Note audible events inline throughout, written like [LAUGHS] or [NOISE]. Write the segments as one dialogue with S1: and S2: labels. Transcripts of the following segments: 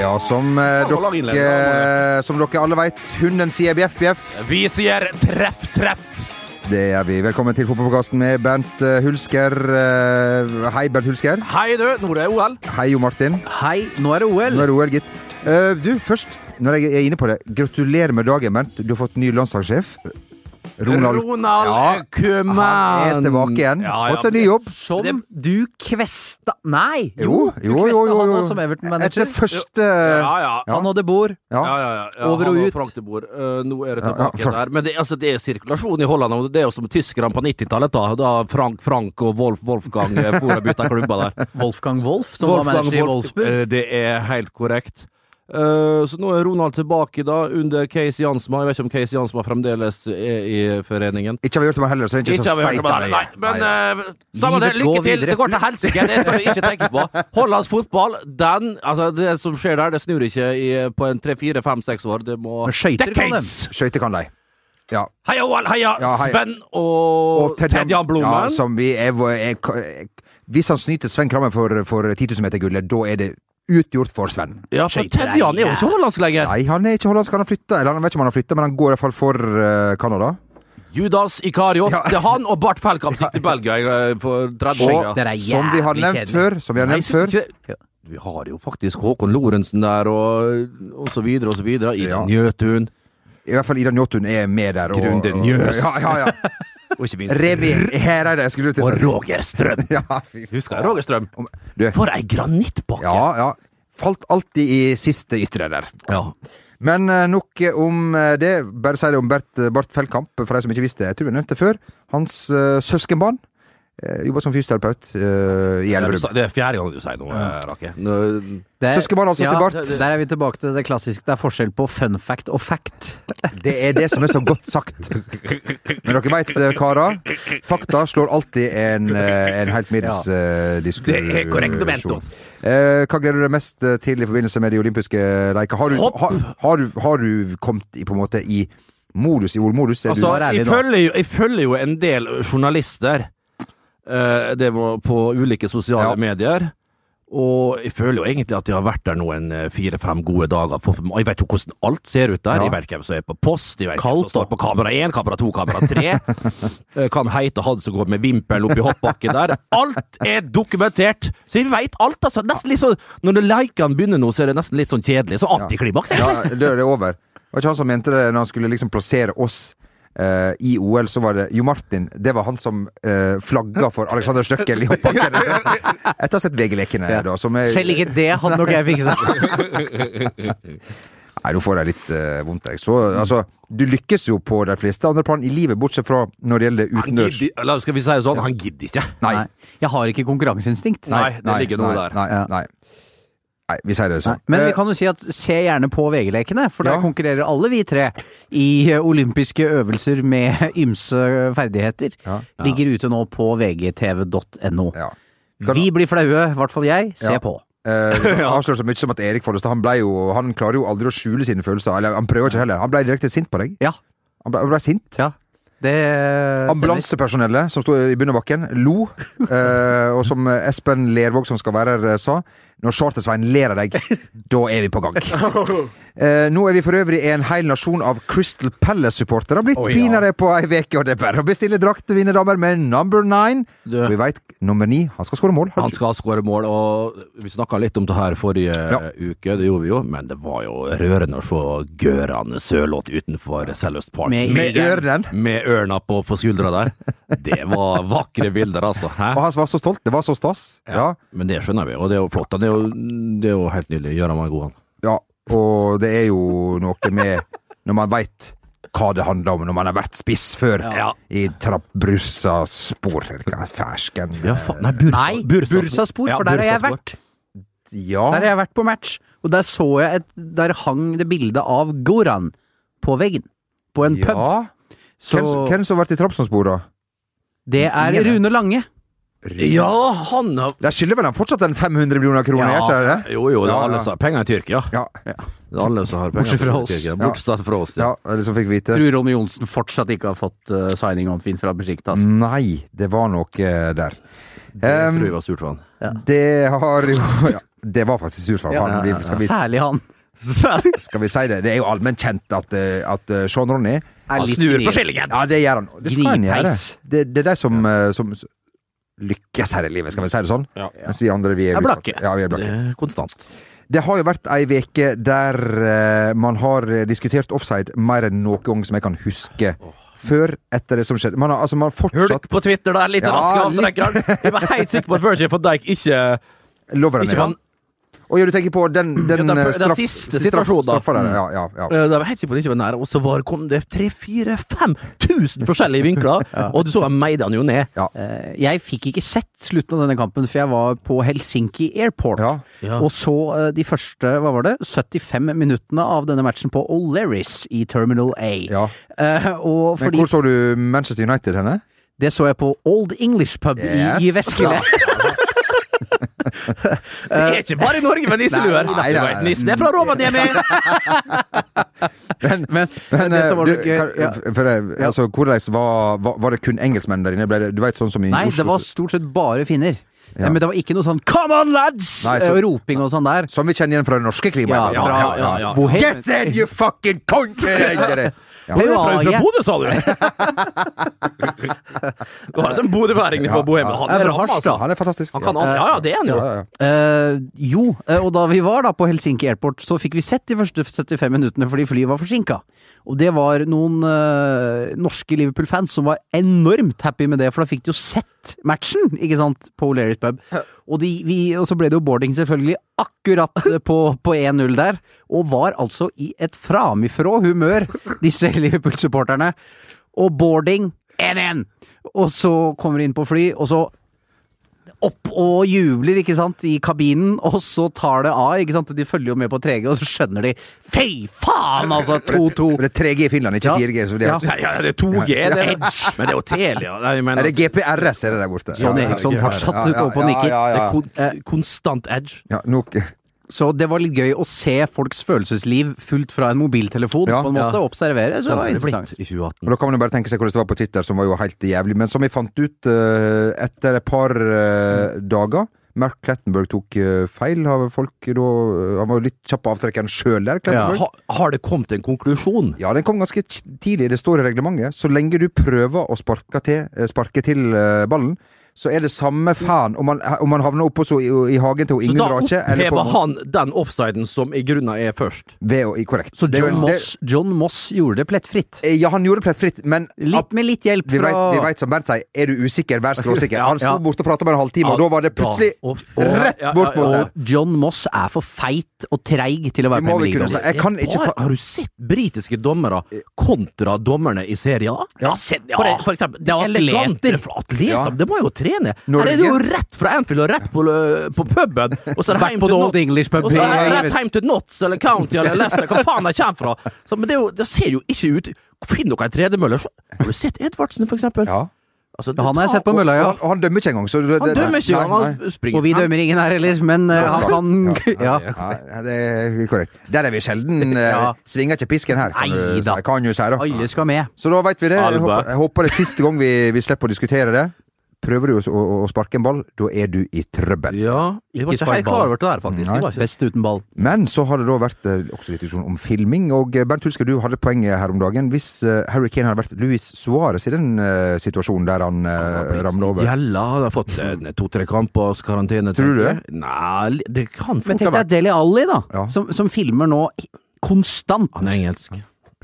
S1: Ja, som, eh,
S2: Jeg holder
S1: dere,
S2: innledningen.
S1: eh, som dere alle vet, hunden sier bjeff, bjeff.
S2: Vi sier treff, treff.
S1: Det gjør vi. Velkommen til fotballpodkasten med Bernt eh, Hulsker. Eh, Hei, Bernt Hulsker.
S2: Hei, du. Nå er det OL.
S1: Hei, Jo Martin.
S3: Hei, nå er det OL!
S1: Nå er det OL, gitt. Eh, Du, først, når jeg er inne på det, gratulerer med dagen, Bernt. Du har fått ny landslagssjef. Ronald Ja,
S2: Koeman.
S1: Han er tilbake igjen.
S2: Ja, ja.
S1: Fått seg ny jobb.
S3: Som
S2: Det-
S3: du kvesta Nei!
S1: Jo,
S3: du
S1: jo, jo.
S3: kvesta
S1: jo,
S3: han
S1: jo.
S3: også som
S1: Etter
S3: Everton-manager.
S1: første
S2: Ja, ja.
S1: Ja.
S3: Han hadde bord.
S1: Ja.
S2: Ja, ja, ja.
S3: Over og
S2: han var
S3: ut.
S2: Frank de Boer. Eh, nå er det
S1: Ja, ja,
S2: tilbake
S1: Frank.
S2: der. Men det, altså, det er sirkulasjon i Holland. og Det er jo som tyskerne på 90-tallet, da. Da Frank Frank og Wolf Wolfgang eh, for å bytte klubber der.
S3: Wolfgang Wolf, som var manager i Wolfsburg.
S2: Eh, det er helt korrekt. Eh, så nå er Ronald tilbake, da, under Case Jansma. Jeg vet ikke om Case Jansma fremdeles er i foreningen.
S1: Ikke har vi hørt om han heller, så det er ikke,
S2: Ikke
S1: så
S2: har vi hørt om
S1: steika
S2: det.
S1: det.
S2: Nei, men
S1: Nei.
S2: eh, samme det,
S3: Livet
S2: lykke
S3: går
S2: til.
S3: videre.
S2: Det går til helsike, det skal vi ikke tenke på. Hollands fotball, den Altså, det som skjer der, det snur ikke i, på en tre-fire-fem-seks år. Det må
S3: Men skøyter kan dem.
S2: Decades!
S1: Skøyter kan de. Ja.
S2: Heia OL, heia
S1: Ja, heia.
S2: Sven og, Ted Jan
S1: Ja,
S2: Blommen.
S1: som vi er, er, hvis han snyter Sven Krammen for, for 10 000 meter-gullet, da er det utgjort for Sven.
S2: Ja, for
S3: Skøyter
S2: Ted
S3: er
S2: Jan er jo ikke hollandsk lenger.
S1: Nei, han er ikke hollandsk, han har flytta. Eller han vet ikke om han har flytta, men han går iallfall for eh, Canada.
S2: Judas Ikario.
S1: Ja.
S2: Det er han og Bart Feldkamp gikk til Belgia eh, for 30 år
S1: Og
S2: siden.
S3: Det er
S1: som vi har
S3: jævlig
S1: nevnt
S3: kjedelig.
S1: før, som vi har
S2: Nei,
S1: nevnt før
S2: ikke- Vi har jo faktisk Håkon Lorentzen der, og, og så videre og så videre. I
S1: Ja.
S2: Njøtun.
S1: I hvert fall Ida Njåtun er med der. og-
S2: Grunde
S1: og-
S2: Njøs.
S1: Ja, ja, ja.
S2: Og ikke minst
S1: Revi Hereide, skulle du til å
S2: Og
S1: si.
S2: Roger Strøm.
S1: Ja, fy
S2: Husker
S1: faen.
S2: jeg Roger Strøm?
S1: Om- Du,
S2: For ei granittbakke!
S1: ja, ja. Falt alltid i siste ytre der.
S2: Ja.
S1: Men eh, nok om eh, det. Bare si det om Bert, eh, Bart Feldkamp, for de som ikke visste det. Jeg tror vi nevnte det før. Hans eh, søskenbarn eh, jobber som fysioterapeut eh, i
S2: Det er du
S1: Elverum.
S2: sa- det er fjerde gang du sier noe, eh, Rake. Nå-
S3: Det-
S1: Søskenbarn altså til Bart.
S3: Der er vi tilbake til det klassiske. Det er forskjell på fun fact og fact.
S1: Det er det som er så godt sagt. Men dere veit, karer. Fakta slår alltid en, eh, en helt middels eh, diskusjon.
S2: Det er korrekt og ment, Ulf.
S1: Eh, hva gleder du deg mest til i forbindelse med de olympiske leker? Har du,
S2: Hopp!
S1: har, har du, har du kommet i, på en måte i modus, i ordmodus? Er
S2: Altså,
S3: Vær ærlig
S2: jeg
S3: nå.
S2: følger, jo, jeg følger jo en del journalister eh, det må, på ulike
S1: Ja.
S2: sosiale medier. Og jeg føler jo egentlig at jeg har vært der nå en eh, fire-fem gode dager. For, og jeg vet jo hvordan alt ser ut der.
S1: Ja.
S2: Jeg vet hvem som er på post, jeg vet
S3: Kaldt,
S2: hvem som står på kamera én, kamera to, kamera tre.
S1: [LAUGHS]
S2: Eh, kan heite han som går med vimpel oppi hoppbakken der. Alt er dokumentert! Så jeg veit alt, altså. Nesten litt sånn, når leikene begynner nå, så er det nesten litt sånn kjedelig. Så antiklimaks,
S1: [LAUGHS] Ja,
S2: egentlig.
S1: det det er over. Det var ikke han som mente det når han skulle liksom plassere oss eh, i OL, så var det Jo Martin. Det var han som uh, flagga for Alexander Støkkel i
S3: [LAUGHS]
S1: hoppbakken. Etter å ha sett VG-lekene, da. Som er,
S3: Selv ikke det hadde nok jeg fiksa.
S1: Nei, nå får jeg litt eh, vondt, jeg. Så altså, du lykkes jo på de fleste andre plan i livet, bortsett fra når det gjelder
S2: Han
S1: utendørs.
S2: gidder, eller skal vi si det sånn, han gidder ikke.
S1: [LAUGHS] Nei.
S3: Nei. Jeg har ikke konkurranseinstinkt.
S2: Nei, det ligger noe
S1: nei,
S2: der.
S1: Nei,
S3: Ja.
S1: nei. nei, vi sier det
S3: Nei,
S1: sånn.
S3: Men vi
S1: Eh,
S3: kan jo si at se gjerne på VG-lekene, for der
S1: Ja.
S3: konkurrerer alle vi tre i eh, olympiske øvelser med [LAUGHS] ymse ferdigheter.
S1: Ja.
S3: Ligger ute nå på vgtv.no.
S1: ja.
S3: Vi blir flaue, i hvert fall jeg. Se
S1: Ja.
S3: på.
S1: Eh,
S3: [LAUGHS]
S1: det avslører så mye som at Erik Follestad han, ble jo, han klarer jo aldri å skjule sine følelser. Eller han prøver ikke heller. Han ble direkte sint på deg.
S3: Ja.
S1: Han ble, han ble sint.
S3: ja. Det stemmer.
S1: Ambulansepersonellet som sto i Bunnebakken, lo. [LAUGHS] eh, og som Espen Lervåg, som skal være her, eh, sa Når Charter-Svein ler
S2: [LAUGHS]
S1: av deg, da er vi på gang. Eh, nå er vi for øvrig en hel nasjon av Crystal Palace-supportere blitt
S2: Oi, ja.
S1: pinadø på ei uke, og det er bare å bestille drakt, mine damer, med number nine.
S2: Du.
S1: Og vi veit nummer ni, han skal skåre mål.
S2: Han skal skåre mål, og vi snakka litt om det her forrige
S1: Ja.
S2: uke, det gjorde vi jo, men det var jo rørende å se Gøran Sørloth utenfor Selløst Park.
S3: Med-
S1: Med ørnen.
S2: Med ørna på, på skuldra der. Det var vakre bilder, altså. Hæ?
S1: Og han var så stolt. Det var så stas. Ja.
S2: Men det skjønner vi, og det er jo flott. da. Det er jo, det er jo helt nydelig. Gøran var god, han.
S1: ja. Og det er jo noe med Når man veit hva det handler om når man har vært spiss før.
S2: Ja.
S1: I trappbrusa spor eller hva, Fersken
S2: Ja, faen. Nei, Bursa,
S3: Nei, Bursaspor,
S2: Ja,
S3: for der har jeg
S2: Bursaspor.
S3: vært.
S1: Ja.
S3: Der har jeg vært på match, og der så jeg et Der hang det bildet av Goran på veggen. På en pub.
S1: ja.
S3: Så
S1: Hvem, som- hvem som har vært i Trabzonspor, da?
S3: det er
S1: Ingen.
S3: Rune Lange.
S1: Rune.
S2: Ja, han har
S1: De skylder vel han fortsatt en 500 millioner kroner, gjør ikke de det?
S2: Jo, jo, det
S1: Ja,
S2: er alle
S1: ja.
S2: som har penger i Tyrkia.
S1: Ja.
S2: Det er alle som har penger
S3: Bortsett fra
S2: til
S3: oss.
S2: Tyrkia.
S1: Ja.
S2: Bortsett fra oss.
S1: ja, liksom fikk vite.
S3: Tror Ronny Johnsen fortsatt ikke har fått eh, signing on fin fra Besjiktas.
S1: Mm. Nei, det var noe der.
S2: Det
S1: Ehm,
S2: tror jeg var surt for han.
S1: det har jo [LAUGHS] ja, Det var faktisk surt for
S3: Ja,
S1: han. Vi, skal,
S3: [LAUGHS]
S1: vi,
S3: Særlig han.
S1: skal vi si det? Det er jo allment kjent at, eh, at eh, Sean Ronny
S3: Er
S2: Han
S3: litt
S2: snur
S3: gnier.
S2: på skillingen!
S1: Ja, det gjør han. Det skal han gjøre.
S3: Gnipeis.
S1: Det, det er de som, eh, som s- lykkes her i livet, skal vi si det sånn.
S2: Ja.
S1: Mens vi andre, vi er
S2: Er
S1: utsatt.
S2: blakke.
S1: Ja, vi er
S2: Det
S1: blakke.
S2: er konstant.
S1: Det har jo vært ei veke der eh, man har eh, diskutert offside mer enn noen gang som jeg kan huske. Før, etter det som skjedde. Man har, altså, man har fortsatt
S2: Hulk på Twitter der, litt
S1: Ja,
S2: raskere avtrekkeren. Jeg var helt sikker på at Virgin van Dijk ikke,
S1: Lover den
S2: ikke
S1: ja.
S2: var
S1: Og ja, du tenker på den, den,
S2: Ja, den-
S1: eh,
S2: den
S1: straff-
S2: siste
S1: straff-
S2: situasjonen, da.
S1: straffa der, ja, ja, ja.
S3: Mm.
S2: Eh, Det var helt sikkert at det ikke var nære, og så var, kom det tre, fire, fem tusen forskjellige
S1: [LAUGHS]
S2: vinkler, og du så jeg meide han jo ned.
S1: Ja.
S3: Eh, Jeg fikk ikke sett slutten av denne kampen, for jeg var på Helsinki Airport.
S1: ja.
S3: Og så eh, de første hva var det, 75 minuttene av denne matchen på O'Lerris i Terminal A.
S1: Ja.
S3: Eh, og
S1: Men
S3: fordi
S1: hvor så du Manchester United henne?
S3: Det så jeg på Old English Pub
S1: Yes.
S3: i, i
S1: [LAUGHS]
S3: Vestkylle.
S2: Det er ikke bare i Norge med nisseluer!
S1: Nei, nei,
S2: Du
S1: nei.
S2: vet, Nissen er fra Rovaniemi!
S3: Men,
S1: Men,
S3: det som
S1: eh,
S3: var så
S1: du,
S3: gøy
S1: kan-
S3: ja.
S1: for det- altså, hvordan var, var, var det kun engelskmenn der inne? Ble det, du vet, sånn som i
S3: Nei,
S1: Oslo
S3: det var stort sett bare finner.
S1: Ja.
S3: Men det var ikke noe sånn 'come on, lads!'
S1: Nei, så-
S3: og roping og sånn der.
S1: Som vi kjenner igjen fra det norske
S3: Ja,
S1: klimaet.
S3: fra ja, ja, Bohem.
S1: Get in, you fucking
S3: [LAUGHS]
S1: country! Ja.
S2: Du er fra, fra
S3: Hawaii.
S2: Bodø, sa du! Du har jo sånn bodøværing fra Bohemen. Han
S3: Ja, fra
S2: er bra, altså.
S3: Harstad.
S1: Han er fantastisk.
S2: Han kan, ja, ja, det er han jo.
S1: Ja, ja, ja.
S3: Eh, jo, eh, og da vi var da på Helsinki Airport, så fikk vi sett de første 75 minuttene fordi flyet var forsinka. Og det var noen eh, norske Liverpool-fans som var enormt happy med det, for da fikk de jo sett matchen, ikke sant, på O'Learys pub. Og, de, vi, og så ble det jo boarding, selvfølgelig, akkurat eh, på, på 1-0 der. Og var altså i et framifrå humør, disse [LAUGHS] Liverpool-supporterne. Og boarding 1-1! Og så kommer de inn på fly, og så opp og jubler ikke sant, i kabinen, og så tar det av. ikke sant? De følger jo med på 3G, og så skjønner de Fy faen,
S1: [LAUGHS]
S3: altså! 2-2.
S1: For Det er 3G i Finland, ikke
S3: Ja.
S1: 4G. Så det er,
S3: Ja.
S2: Nei, ja, det er 2G, det er Men det er jo Telia. Nei, jeg
S1: er
S2: mener,
S1: det GPRS er det der borte?
S3: John
S2: Sånn,
S1: Ja, ja,
S3: Eriksson
S1: ja,
S3: fortsatt
S1: ja, ja,
S3: ute oppe og
S1: ja,
S3: nikker.
S1: Ja,
S2: det
S1: ja,
S2: er
S1: ja.
S2: kon konstant edge.
S1: ja nok.
S3: Så det var litt gøy å se folks følelsesliv fullt fra en mobiltelefon,
S1: Ja.
S3: på en måte.
S2: Ja.
S3: Observere. Så det var
S2: Sånn er
S3: interessant.
S2: blitt i 2018.
S1: Og da kan man jo bare tenke seg hvordan det var på Twitter, som var jo helt jævlig. Men som vi fant ut eh, etter et par eh, dager Mark Clattenburg tok eh, feil. Har folk da Han var jo litt kjapp på avtrekkeren sjøl der, Clattenburg.
S2: Ha, har det kommet en konklusjon?
S1: Ja, den kom ganske t- tidlig. Det står i reglementet. Så lenge du prøver å sparke til, eh, sparke til eh, ballen, så er det samme faen om man, om man havner oppe så i, i hagen til
S2: Så
S1: Ingen
S2: da
S1: Drake eller på
S2: opphever han den offsiden som i grunnen er først.
S1: ved å i korrekt.
S3: Så
S1: Det er jo
S3: John
S1: en- det-
S3: Moss, John Moss gjorde det plettfritt.
S1: eh, Ja, han gjorde det plettfritt, men
S3: Litt,
S1: at-
S3: med litt hjelp
S1: vi
S3: fra
S1: vet, vi vet som Bernt sier, er du usikker, vær skråsikker.
S2: Ja,
S1: Han sto
S3: ja.
S1: borte og prata med en halvtime, og da var det plutselig
S2: Ja, og-
S1: rett
S2: Ja, ja,
S1: bort mot
S2: ja.
S1: det.
S3: Og John Moss er for feit og treig til å være
S1: Det må vi
S3: Premier
S1: kunne si.
S3: League-dommer.
S1: Altså, Jeg kan ikke
S2: Bare-
S1: fa-
S2: Har du sett britiske dommere kontra dommerne i Serie A?
S1: Ja.
S2: For, for eksempel. Det er eleganter for atleter.
S1: Ja.
S2: Det må jo trene.
S1: Norge.
S2: Her er det jo rett fra Anfield og rett på, lø- på puben, og så er det
S3: Back
S2: hjem
S3: på
S2: til
S3: the
S2: North
S3: old English pub.
S2: Og så er det
S3: Ja,
S2: rett hjem til Notts eller County eller Leicester, hva faen de kommer fra. Så, men det, er jo, det ser jo ikke ut Finn dere en tredemølle. Så- Har du sett Edvardsen, for eksempel?
S1: Ja.
S2: Altså, det
S3: Han har jeg
S2: tar-
S3: sett på mølla, ja.
S1: Og, og han dømmer ikke engang, så det-
S2: Han
S1: det-
S2: dømmer ikke,
S1: nei, nei.
S2: han springer
S3: Og vi dømmer ingen her heller, men eh, han kan [LAUGHS] Ja.
S1: Ja, det er korrekt. Der er vi sjelden. eh,
S3: Ja.
S1: Svinger ikke pisken her, kan du,
S3: Neida.
S1: si- kan du si. Da.
S3: Alle skal med.
S1: Så da veit vi det. Jeg
S2: Alba.
S1: håper, jeg håper det er siste gang vi, vi slipper å diskutere det. Prøver du å, å, å sparke en ball, da er du i trøbbel.
S2: Ja,
S3: Ikke
S2: vi var ikke helt
S3: sparkball.
S2: klar over det der, faktisk.
S1: Nei.
S2: Vi var ikke
S3: Best uten ball.
S1: Men så har det da vært eh, også diskusjon om filming, og eh, Bernt Hulsker, du hadde poenget her om dagen. Hvis eh, Harry Kane hadde vært Luis Suárez i den eh, situasjonen der han uh, ramla over
S2: Gjella har fått eh, to-tre kampers karantene.
S1: Tror du
S2: tenker jeg. Nei, li- det kan
S3: Men
S2: fort
S3: tenk deg
S2: ha vært
S3: Deli Alli, da.
S1: Ja.
S3: Som, som filmer nå konstant.
S2: Han er engelsk.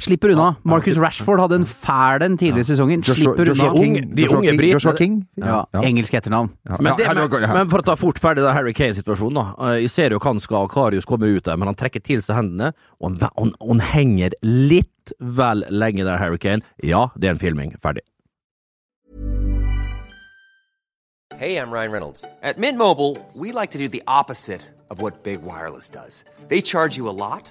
S3: Slipper unna. Marcus Rashford hadde en fæl en tidligere i sesongen.
S1: Joshua,
S3: Slipper
S1: Joshua
S3: unna.
S1: King.
S2: Unge- de
S1: Joshua
S2: unge
S1: King-
S2: britene.
S1: Joshua King.
S3: Ja,
S1: Ja.
S3: Engelsk etternavn.
S1: Ja.
S2: Men, det,
S1: Ja,
S2: men,
S1: her- ja.
S2: men for å ta fort ferdig den Harry Kane-situasjonen, da. Eh, Jeg ser jo hva han skal, og Karius kommer ut der, men han trekker til seg hendene, og han, ve- han, han henger litt vel lenge der, Harry Kane. Ja, det er en filming. Ferdig.
S4: Hey, I'm Ryan Reynolds. At Mint Mobile, we like to do the opposite of what Big Wireless does. They charge you a lot,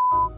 S4: a-"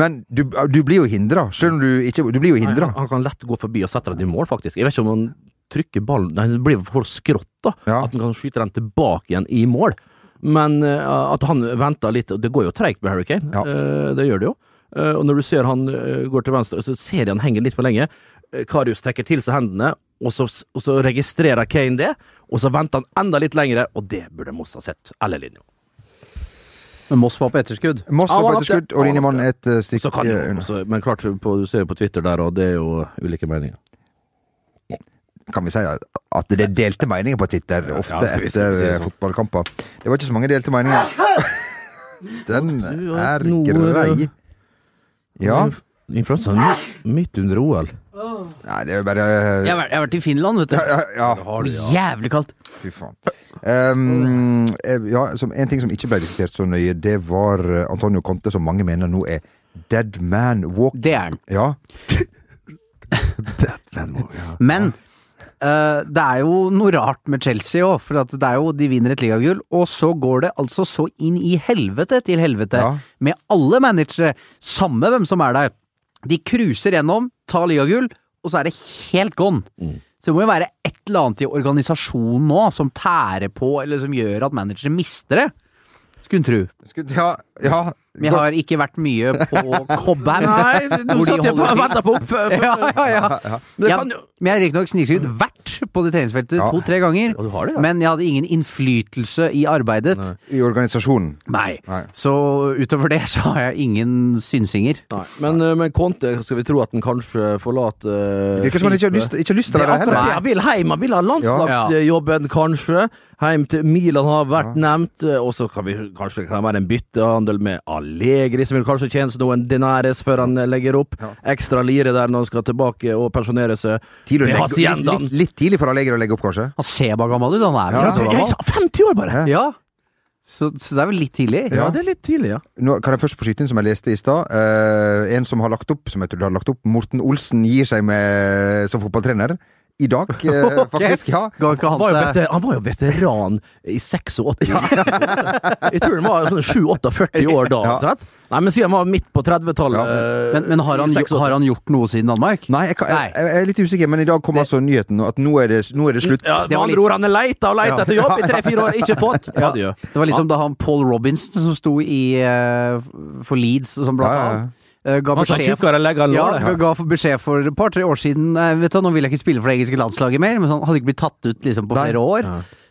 S1: Men du, du blir jo hindra, selv om du ikke Du blir jo hindra.
S2: Han, han kan lett gå forbi og sette den i mål, faktisk. Jeg vet ikke om han trykker ballen Nei, Det blir for skrått, da.
S1: Ja.
S2: At han kan skyte den tilbake igjen i mål. Men eh, at han venter litt og Det går jo treigt med Harry Kane,
S1: Ja.
S2: Eh, det gjør det jo. Eh, og når du ser han eh, går til venstre, så ser jeg han henger litt for lenge. Eh, Karius trekker til seg hendene, og så, og så registrerer Kane det. Og så venter han enda litt lengre, og det burde Moss ha sett. Eller Linjo.
S3: Men Moss var på etterskudd.
S1: Moss
S2: Ja,
S1: var på
S2: han har det.
S1: etterskudd, og
S2: Han har
S1: linjemannen et eh,
S2: Så
S1: stykke
S2: kan jo,
S1: unna.
S2: så, men klart, på, du ser jo på Twitter der, og det er jo ulike meninger.
S1: Kan vi si at at det er delte meninger på Twitter, ofte
S2: skal vi si-
S1: etter
S2: si det
S1: eh,
S2: sånn.
S1: fotballkamper? Det var ikke så mange delte meninger.
S2: [LAUGHS]
S1: Den
S2: Du har
S1: er
S2: noe-
S1: grei. Ja.
S2: Influensaen mi- midt under OL.
S1: Nei, det er jo bare
S3: Jeg har vært, jeg har vært i Finland, vet du.
S1: Ja, [LAUGHS] ja.
S3: Jævlig kaldt.
S1: Fy faen. Ehm, eh, ja, som, en ting som ikke ble diskutert så nøye, det var eh, Antonio Conte, som mange mener nå er dead man walk.
S3: Det er den.
S1: Ja,
S2: [LAUGHS]
S3: Men eh, det er jo noe rart med Chelsea òg, for at det er jo, de vinner et ligagull, og så går det altså så inn i helvete til helvete
S1: Ja.
S3: med alle managere, samme hvem som er der. De cruiser gjennom, tar ligagull, og så er det helt gone. Så det må jo være et eller annet i organisasjonen nå som tærer på, eller som gjør at managere mister det. Skulle en tro.
S1: Skulle- ja, ja.
S3: Vi
S1: Gå-
S3: har ikke vært mye på Cobham.
S2: nå satt jeg og venta på oppfør!
S3: [LAUGHS] Ja, ja, ja.
S2: Men det
S3: Ja,
S2: kan jo-
S3: men jeg har riktignok snikskrytt vært på det treningsfeltet
S1: Ja.
S3: to-tre ganger,
S2: du har det, ja.
S3: men jeg hadde ingen innflytelse i arbeidet. Nei.
S1: I organisasjonen. Nei.
S3: Så utover det så har jeg ingen synsinger.
S2: Men, eh, men Conte, skal vi tro at han kanskje forlater eh,
S1: Det virker som han ikke har lyst, ikke har lyst til å
S2: Det er
S1: være der
S2: akkurat det
S1: heller.
S2: han vil hjem, han vil ha
S3: Ja.
S2: landslagsjobben, kanskje. Heim til Milan har vært nevnt, eh, og så kan vi kanskje kan det være en byttehandel med Allegri, som vil kanskje tjene noen denares før han eh, legger opp. Ekstra lire der når han skal tilbake og pensjonere seg.
S1: Tidlig å
S2: Med
S1: legge, litt,
S2: Haciendaen.
S1: litt, litt tidlig for Allegri å legge opp, kanskje?
S3: Han ser bare gammel ut, han er
S1: Ja,
S3: vel så
S2: Ja, jeg
S3: gammel.
S2: sa 50 år, bare!
S1: Hæ?
S3: Ja. Så, så det er vel litt tidlig.
S2: Ja, det er litt tidlig, ja.
S1: Nå kan jeg først få skyte inn, som jeg leste i stad. eh, en som har lagt opp, som jeg tror du har lagt opp, Morten Olsen gir seg med, som fotballtrener. I dag, eh, faktisk. Ja.
S3: Ga ikke
S2: Han var, jo
S3: han seg
S2: veter, han var jo veteran i 86. Jeg tror han var sånn 7-48 år da.
S1: Ja.
S2: omtrent. Nei, men siden han var midt på 30-tallet
S1: Ja.
S2: eh,
S3: men, men har han,
S2: i
S3: gjo-
S2: 86.
S3: har han gjort noe siden Danmark?
S1: Nei, jeg, kan, jeg,
S3: Nei.
S1: jeg er litt usikker, men i dag kom altså nyheten nå at nå er det, nå er det slutt.
S2: ja,
S3: det
S2: Med
S3: var
S2: andre
S3: litt-
S2: ord, han er leita og leita
S3: Ja.
S2: etter jobb i tre-fire år, ikke fått. Ja, det gjør.
S3: Det var liksom da han Paul Robinson som sto i eh, for Leeds, som blant
S1: Ja, ja, ja.
S3: annet, eh, ga
S2: Han sa
S3: beskjed
S2: tjukkere legger enn
S3: Ja,
S2: låret.
S3: ga for beskjed for et par-tre år siden Nei, vet du, hva, Nå vil jeg ikke spille for det engelske landslaget mer, men sånn, hadde ikke blitt tatt ut liksom, på
S1: Nei.
S3: flere år.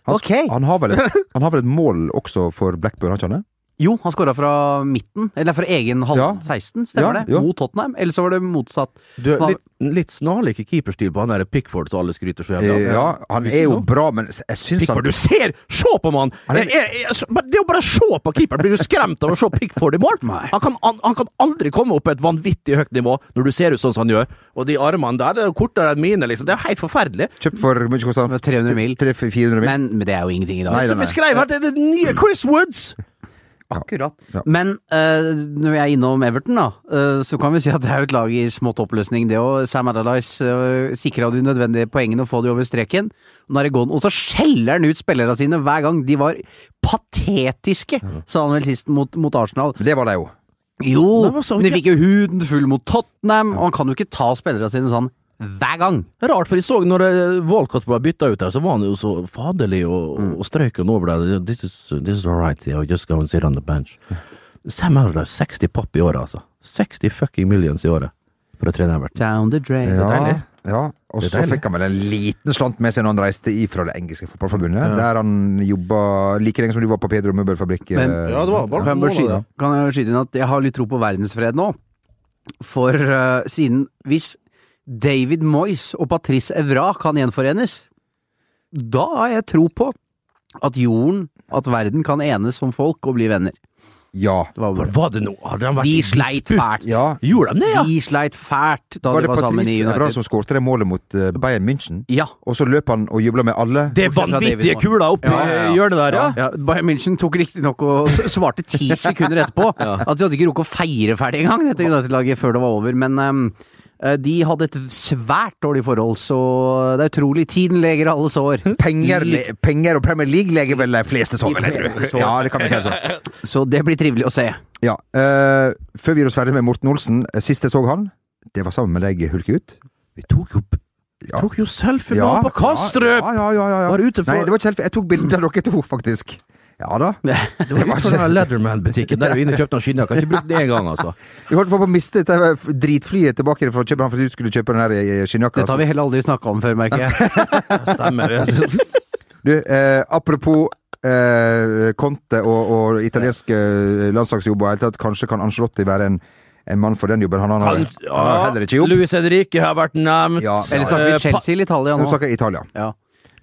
S1: Han,
S3: Ok.
S1: han, har vel et, han har vel et mål også for Blackburn, har ikke han det?
S3: Jo, han skåra fra midten, eller fra egen halv
S1: Ja.
S3: 16, stemmer
S1: Ja,
S3: det?
S1: ja.
S3: Mot Tottenham. Eller så var det motsatt.
S2: Du,
S3: Hva-
S2: litt, litt snarlike keeperstil på han der Pickford som alle skryter så jævlig av.
S1: Ja, han er jo bra, men jeg syns han
S2: Pickford, du ser! Se på mann!
S1: Sånn. Han er-
S2: Jeg- jeg- jeg- bare- Det er jo bare å se på keeperen! Blir du skremt av å se Pickford i mål? Han kan, han, han kan aldri komme opp på et vanvittig høyt nivå når du ser ut sånn som han gjør. Og de armene der, det er jo kortere enn mine, liksom. Det er jo helt forferdelig.
S1: kjøpt for mye kosta han?
S3: 300 mil.
S1: 300-400 mil.
S3: Men, men det er jo ingenting i dag.
S1: Nei,
S2: Som
S1: nei,
S2: jeg skrev her, det er det nye Chris Woods!
S3: Akkurat.
S1: Ja.
S3: Men eh, når vi er innom Everton, da, eh, så kan vi si at det er jo et lag i smått oppløsning. Det òg. Sam Adalice uh, sikra de nødvendige poengene og få de over streken. Nå er det gone. Og så skjeller han ut spillerne sine hver gang de var patetiske, sa han vel sist mot, mot Arsenal.
S1: Det var det jo.
S3: Jo,
S2: Nei, men
S3: men
S2: så-
S3: de fikk jo huden full mot Tottenham, og han kan jo ikke ta spillerne sine sånn hver gang.
S2: Rart, for jeg så når eh, Walcott ble bytta ut her, så var han jo så faderlig og,
S1: Mm.
S2: og strøk han over der. This is, this is all right, I'll just go and sit on the bench. Sam Allardyce, 60 papp i året, altså. 60 fucking millions i året for å trene Everton.
S3: Down the drain.
S1: Ja, ja. Og
S2: Det er
S1: så
S2: deilig.
S1: fikk han vel en liten slant med seg når han reiste ifra det engelske fotballforbundet, der han jobba like lenge som du var på Pedro Møbelfabrikk.
S3: Men-
S1: eh,
S2: Ja, det var bare
S3: Kan jeg, bare skyte, kan jeg bare skyte inn at jeg har litt tro på verdensfred nå? For eh, siden Hvis David Moyes og Patrice Evra kan gjenforenes, da har jeg tro på at jorden, at verden kan enes som folk og bli venner.
S1: Ja.
S3: Det var
S2: For
S3: bare-
S2: var det noe? Hadde han vært
S3: De
S2: i
S3: sleit
S2: disputt?
S3: fælt.
S1: ja.
S2: Gjorde de det, ja?
S3: De sleit fælt da
S1: Var
S3: de
S1: det
S3: var sammen i
S1: Patrice Evra
S3: United.
S1: som skårte det målet mot eh, Bayern München?
S3: Ja.
S1: Og så løp han og jubla med alle.
S3: Bortsett
S2: Det
S3: fra
S2: vanvittige
S3: David Moyes.
S2: kula oppi
S3: Ja, ja, ja.
S2: hjørnet der, ja?
S3: Ja, Bayern München tok riktignok og s- svarte ti sekunder etterpå. At de hadde ikke rukket å feire ferdig engang, dette United-laget, før det var over. Men ehm, eh, de hadde et svært dårlig forhold, så det er utrolig. Tiden leger alle sår.
S1: Penger, le- penger og Premier League leger vel de fleste så, vil jeg tro. Ja, det kan vi si det sånn.
S3: Så det blir trivelig å se.
S1: Ja. eh, før vi gjør oss ferdig med Morten Olsen, eh, sist jeg så han, det var sammen med deg, Hulkegutt.
S2: Vi tok jo, vi
S1: Ja.
S2: tok jo selfie med han på Kastrup!
S1: Ja, ja, ja, ja, ja.
S2: Var ute for-
S1: Nei, det var ikke selfie. Jeg tok bilde av dere to, faktisk. Ja da.
S2: Det var utenfor den Leatherman-butikken der vi inne kjøpte han skinnjakka. Ikke brukt den én gang, altså.
S1: Vi holdt på å miste dette dritflyet tilbake fra København fordi du skulle kjøpe den her eh, skinnjakka.
S3: Dette har vi heller aldri snakka om før, merker jeg.
S2: Stemmer.
S1: Du, eh, apropos eh, Conte og, og italiensk eh, landslagsjobb og i det hele tatt, kanskje kan Ancelotti være en, en mann for den jobben. Han, han, har,
S2: Han,
S1: han har heller ikke jobb.
S2: Louis Henrique har vært nevnt.
S1: Ja,
S3: Eller
S1: ja.
S3: snakker
S2: Eh,
S3: vi Chelsea eller Italia
S1: Nå
S3: nå?
S1: snakker jeg Italia.
S3: Ja.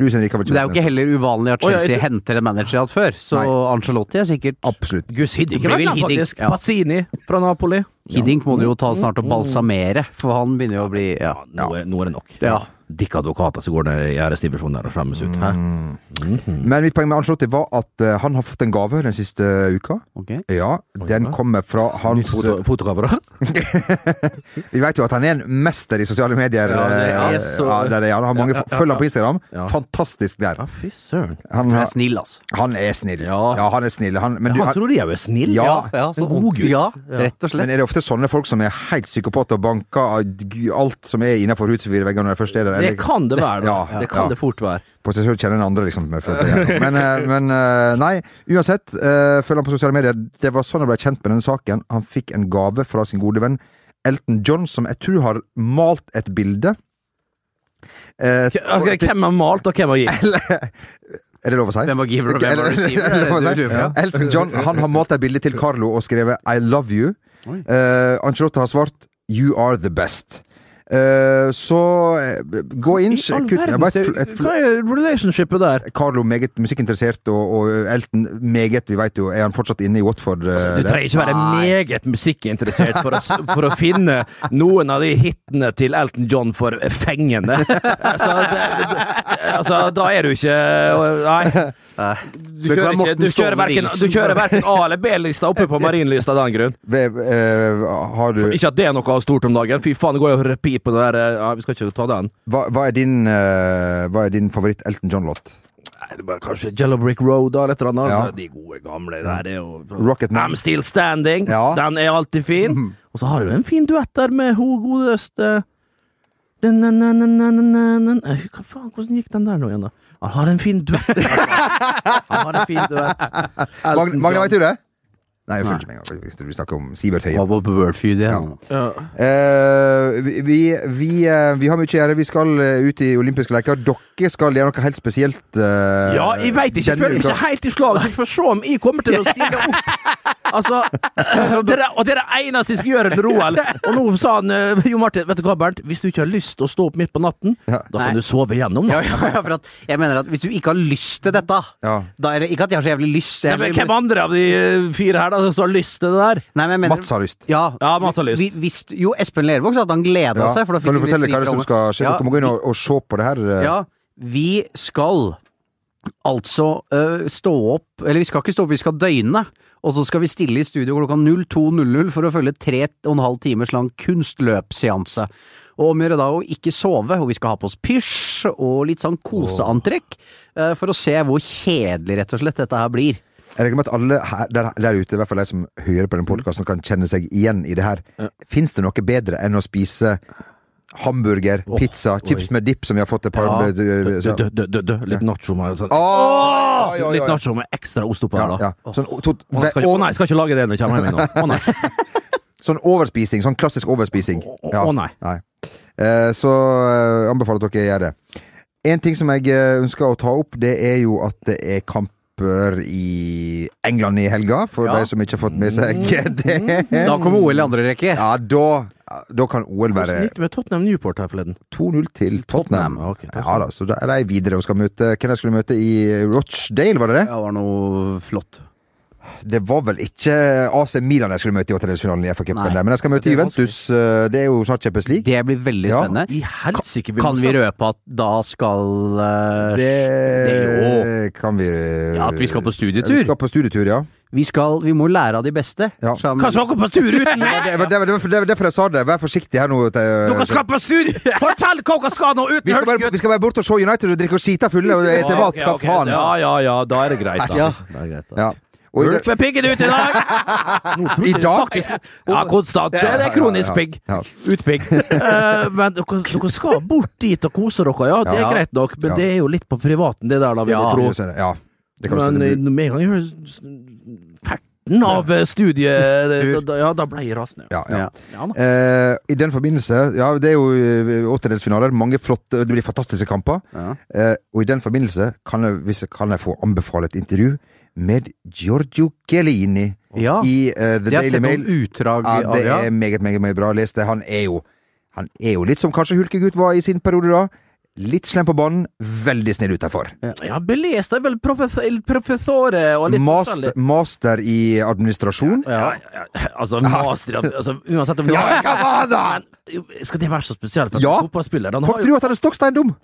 S1: Luis Henrique har vært
S3: Men det er jo ikke heller uvanlig at
S2: Å, ja,
S3: Chelsea
S2: jeg tror-
S3: henter en manager igjen før, så
S1: Nei.
S3: Ancelotti er sikkert
S1: Absolutt.
S2: Gus Hiddink
S3: Det
S2: har
S3: blir
S2: vært nevnt,
S3: Hiddink,
S2: faktisk.
S3: ja.
S2: Pazzini fra Napoli.
S3: Hiddink må du jo ta snart og balsamere, for han begynner jo å bli ja.
S2: Ja, nå, er, nå er det nok.
S3: Ja.
S2: Dick Advokater som går ned i æresdivisjonen der og fremmes ut. Hæ?
S1: Mm. Men mitt poeng med Ancelotti var at eh, han har fått en gave den siste uka.
S3: Ok.
S1: Ja, den kommer fra hans
S2: Foto, fotokamera?
S1: Vi vet jo at han er en mester i sosiale medier.
S2: Ja, det er
S1: eh,
S2: så-
S1: ja, det er det. Han har mange
S2: Ja, ja, ja,
S1: følger på Instagram.
S2: Ja.
S1: Fantastisk der.
S2: Ja, fy søren.
S3: Han
S1: Han, har-
S3: er snill, altså.
S1: han er snill.
S2: Ja.
S1: Ja, han er snill. Han, men, du,
S2: Han
S1: han,
S2: tror jeg jo er snill.
S1: Ja.
S2: En god gutt.
S3: Ja, rett og slett.
S1: men er det ofte sånne folk som er helt psykopater og banker av g- alt som er innafor husets fire vegger når de først er der?
S2: Det
S1: Eller
S2: kan det være. da.
S1: Ja,
S2: det kan
S1: ja.
S2: det fort være.
S1: på seg selv kjenner en andre, liksom. med følelser
S2: [LAUGHS]
S1: igjennom. Men, eh, men eh, nei, uansett. eh, Følg han på sosiale medier. Det var sånn jeg ble kjent med den saken. Han fikk en gave fra sin gode venn Elton John, som jeg tror har malt et bilde. Eh,
S2: Ok, Hvem har malt, og hvem har gitt?
S1: Er det lov å si?
S3: Hvem var giver og hvem var
S1: Er
S3: [LAUGHS]
S1: det-
S3: receiver?
S2: [LAUGHS]
S1: er det lov å
S3: Det lurer
S1: si?
S3: jeg på.
S1: Elton John han har malt et bilde til Carlo og skrevet 'I love you'. Eh, Ancelotti har svart 'You are the best'. Eh, så eh, gå inn
S2: I all
S1: sjekk ut- jeg
S2: verden,
S1: bare-
S2: se-
S1: et-
S2: Hva er relationshipet der?
S1: Carlo meget musikkinteressert, og, og Elton meget, vi veit jo. Er han fortsatt inne i Watford? eh,
S2: Altså, Du trenger ikke være meget musikkinteressert for å, for å finne noen av de hitene til Elton John for fengende. Altså, det, det, altså da er du ikke øh, Nei. Du
S1: Det kan være
S2: kjører, ikke,
S1: Morten
S2: du kjører, verken, du kjører verken A- eller B-lista oppe på Marienlysta av den grunn.
S1: ved, eh, har du
S2: Ikke at det er noe stort om dagen. Fy faen, det går jo repeat på det der eh, ja, Vi skal ikke ta den.
S1: hva, hva er din, eh, hva er din favoritt Elton John-låt?
S2: Nei, det er bare Kanskje Yellow Brick Road eller et eller annet.
S1: Ja.
S2: De gode gamle der er jo
S1: Rocket Man.
S2: I'm Still Standing.
S1: Ja. Mhm.
S2: Den er alltid fin. Og så har du en fin duett der med ho godeste Dun, dun, dun, dun, dun, dun, dun, dun. Eh, Hva faen, hvordan gikk den der nå igjen, da? Han
S3: [LAUGHS]
S2: har en fin duett. altså. Han har en fin duett. Elton
S1: Magne, Magne,
S2: John.
S1: veit du det? Nei, unnskyld meg. altså, jeg tror Vi snakker om Sivert Høie.
S3: Hva var på Wordfeed igjen?
S1: [LAUGHS] Ja. Eh, vi, vi, vi, eh, vi har mye å gjøre. Vi skal eh, ut i olympiske leker. Dere skal gjøre noe helt spesielt. eh,
S2: Ja, jeg veit ikke. Jeg
S1: denne
S2: føler meg
S1: uka.
S2: ikke helt i slag. så Vi får se om jeg kommer til å
S1: [LAUGHS]
S2: stille opp. Altså, det er, og det er det eneste jeg skal gjøre under OL. Og nå sa han eh, Jo Martin, vet du hva, Bernt. Hvis du ikke har lyst til å stå opp midt på natten,
S1: Ja.
S2: da kan
S3: Nei.
S2: du sove gjennom
S3: Ja,
S2: natta.
S3: ja, ja, for at jeg mener at hvis du ikke har lyst til dette
S1: Ja.
S3: da er det Ikke at jeg har så jævlig lyst.
S2: Nei,
S3: Jeg,
S2: men hvem andre av de eh, fire her da som har lyst til det der?
S3: Nei, men jeg mener,
S1: Mats har lyst.
S3: Ja,
S2: Ja, Mats har lyst.
S3: Vi, hvis, jo, Espen Lervåg sa at han gleda
S1: Ja.
S3: seg. For da fikk
S1: Kan du
S3: vi
S1: fortelle
S3: fri
S1: hva det er som
S3: program.
S1: skal skje?
S3: Ja,
S1: Dere må gå inn og, og se på det her. eh.
S3: Ja, vi skal altså øh, stå opp Eller vi skal ikke stå opp, vi skal døgne. Og så skal vi stille i studio klokka 02.00 for å følge tre og en halv timers lang kunstløpseanse. Og om å gjøre da å ikke sove, og vi skal ha på oss pysj og litt sånn koseantrekk. øh, for å se hvor kjedelig, rett og slett, dette her blir.
S1: Jeg regner med at alle her, der, der ute, i hvert fall de som hører på den podkasten, kan kjenne seg igjen i det her. Fins det noe bedre enn å spise hamburger, pizza, chips med dipp, som vi har fått et par
S3: Ja.
S1: med, eh, Ah,
S2: Dø,
S1: så-
S2: dø, dø, dø, dø. Litt nacho med sånn.
S1: Åh! Oi, oi, oi.
S2: Litt nacho med ekstra ost oppå
S1: Ja,
S2: her, da.
S1: ja. Sånn, o- to,
S2: Å, skal ikke, å nei, skal ikke lage det når jeg kommer hjem igjen nå. Å
S1: [LAUGHS]
S2: nei.
S1: Sånn overspising. Sånn klassisk overspising.
S2: Å, å, nei.
S1: Eh, så eh, anbefaler at dere gjør det. En ting som jeg eh, ønsker å ta opp, det er jo at det er kamper i England i helga, for
S3: Ja.
S1: de som ikke har fått med seg
S2: Mm.
S1: [LAUGHS] det.
S3: Da kommer OL i andre rekke.
S1: Ja, da, da kan OL
S2: Hvordan
S1: være
S2: gikk det med Tottenham Newport her forleden?
S1: 2-0 til Tottenham.
S2: Ja, ok, Tottenham.
S1: Ja da, så da er de videre og skal møte Hvem de skulle møte i Rochdale, var det det?
S3: Ja, det var noe flott.
S1: Det var vel ikke AC Milan de skulle møte i åttendelsfinalen i FA-cupen,
S3: Nei.
S1: der, men de skal møte
S2: Det er
S1: Juventus. eh, Det er jo snart Champions League.
S3: Det blir veldig
S1: Ja.
S3: spennende.
S2: I helsike
S3: Kan vi røpe at da skal eh,
S1: Det, kan vi
S3: Ja, at vi skal på studietur.
S1: Vi skal på studietur, ja.
S3: Vi skal Vi må lære av de beste.
S1: Ja.
S3: Sammen-
S2: Hva skal dere på tur uten meg?
S1: Det var, det, var, det, var, det var derfor jeg sa det. Vær forsiktig her nå. til-
S2: Dere skal på
S1: [LAUGHS]
S2: sur! Fortell hva dere skal nå
S1: vi,
S2: uten
S1: skal bare,
S2: hølsegutt!
S1: vi skal bare bort og se United og drikke oss skita fulle og ete mat. Hva faen?
S2: Ja, ja, ja, da er det greit, da.
S3: Ja.
S2: Da er det greit, da.
S1: Ja. Og i,
S2: Ulf
S1: det-
S2: er piggen ut i
S1: [LAUGHS]
S2: dag! Nå trodde
S1: I
S2: jeg
S1: dag?
S2: faktisk- Ja, konstant. Det det er
S1: Ja,
S2: kronisk
S1: ja,
S2: pigg.
S1: ja. [LAUGHS]
S2: Utpigg. Eh, Men dere, dere skal bort dit og kose dere, ja. Det er
S3: Ja.
S2: greit nok, men
S1: Ja.
S2: det er jo litt på privaten, det der, da, vil
S3: Ja.
S2: jeg tro.
S1: ja. Det kan du si.
S2: Men eh,
S1: Det blir-
S2: med en gang jeg hører ferten av eh, studiet
S3: Tur.
S2: da- Ja, da ble jeg rasende.
S1: Ja, ja.
S3: Ja.
S2: Ja, da.
S1: Eh, I den forbindelse Ja, det er jo eh, åttendelsfinaler. Mange flotte Det blir fantastiske kamper.
S3: Ja.
S1: Eh, og i den forbindelse kan jeg, hvis jeg, kan jeg få anbefale et intervju med Giorgio Chiellini
S3: Ja.
S1: i eh,
S3: Jeg
S1: The
S3: har
S1: Daily
S3: sett
S1: Mail.
S3: noen utdrag
S1: Ja,
S3: av
S1: det er meget, meget, meget bra. Les det. Han er jo Han er jo litt som kanskje Hulkegutt var i sin periode da. Litt slem på banen, veldig snill utenfor.
S2: Ja, belest er vel professor, professore og litt
S1: Master,
S2: forskjellig.
S1: master i administrasjon.
S2: Ja, ja, altså, master altså, Uansett om
S1: Ja, hva var det?
S2: Men, Skal det være så spesielt for en
S1: Ja.
S2: fotballspiller? Han
S1: Folk
S2: har jo,
S1: tror at han er stokkstein dum!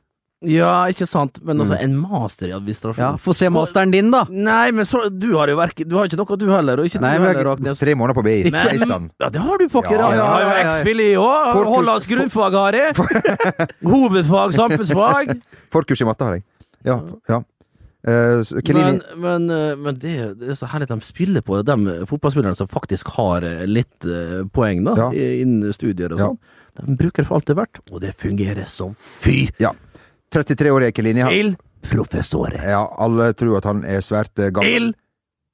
S2: ja, ikke sant, men altså, en master i administrasjon
S3: Ja, Få se masteren din, da!
S2: Nei, men så, du har jo verken Du har ikke noe, du heller, og ikke
S3: Nei,
S2: du
S3: men jeg-
S2: heller, Agnes.
S1: Tre måneder på BI. Nei sann.
S2: Ja, det har du faktisk.
S1: Ja,
S2: Ja,
S1: ja,
S2: Jeg har
S3: ja, ja,
S2: jo
S3: ja.
S2: X-fil i òg.
S1: Forkurs-
S2: Hollandsk grunnfag har jeg. Hovedfag samfunnsfag.
S1: Forkurs i matte har jeg. Ja. ja. Eh, så Chiellini
S2: Men, men, eh, men det, det er så herlig at de spiller på de fotballspillerne som faktisk har eh, litt eh, poeng da,
S1: Ja.
S2: i- innen studier og
S1: Ja.
S2: sånn. De bruker det for alt det er verdt, og det fungerer som fy
S1: Ja. 33 år er Chiellini. Han-
S2: til professorer.
S1: Ja, alle tror at han er svært eh, gammel.
S2: Il!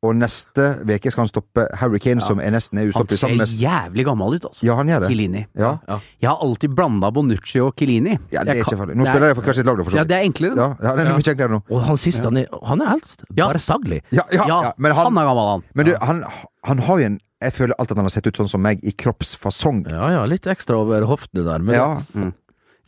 S1: Og neste uke skal han stoppe Harry Kane, som er nesten
S3: Han
S1: er ustoppelig
S3: ser
S1: sammen med
S3: jævlig gammel ut, altså.
S1: Ja, han gjør det.
S3: Kilini.
S1: Ja.
S3: Jeg har alltid blanda Bonucci og Kilini.
S1: Ja, det er ikke farlig. Nå
S3: Nei.
S1: spiller jeg for hvert sitt lag, da, for så
S3: Ja,
S1: vidt.
S3: det er enklere.
S1: Ja,
S3: da.
S1: ja, det er mye enklere nå.
S2: Og han siste, han er, han er eldst.
S3: Ja.
S2: Bare saglig.
S1: Ja, ja, ja.
S3: Ja,
S1: Men,
S3: han,
S1: han,
S3: er gammel, han.
S1: men du, han, han har jo en Jeg føler alltid at han har sett ut sånn som meg, i kroppsfasong.
S2: Ja ja, litt ekstra over hoftene der. Men
S1: Ja,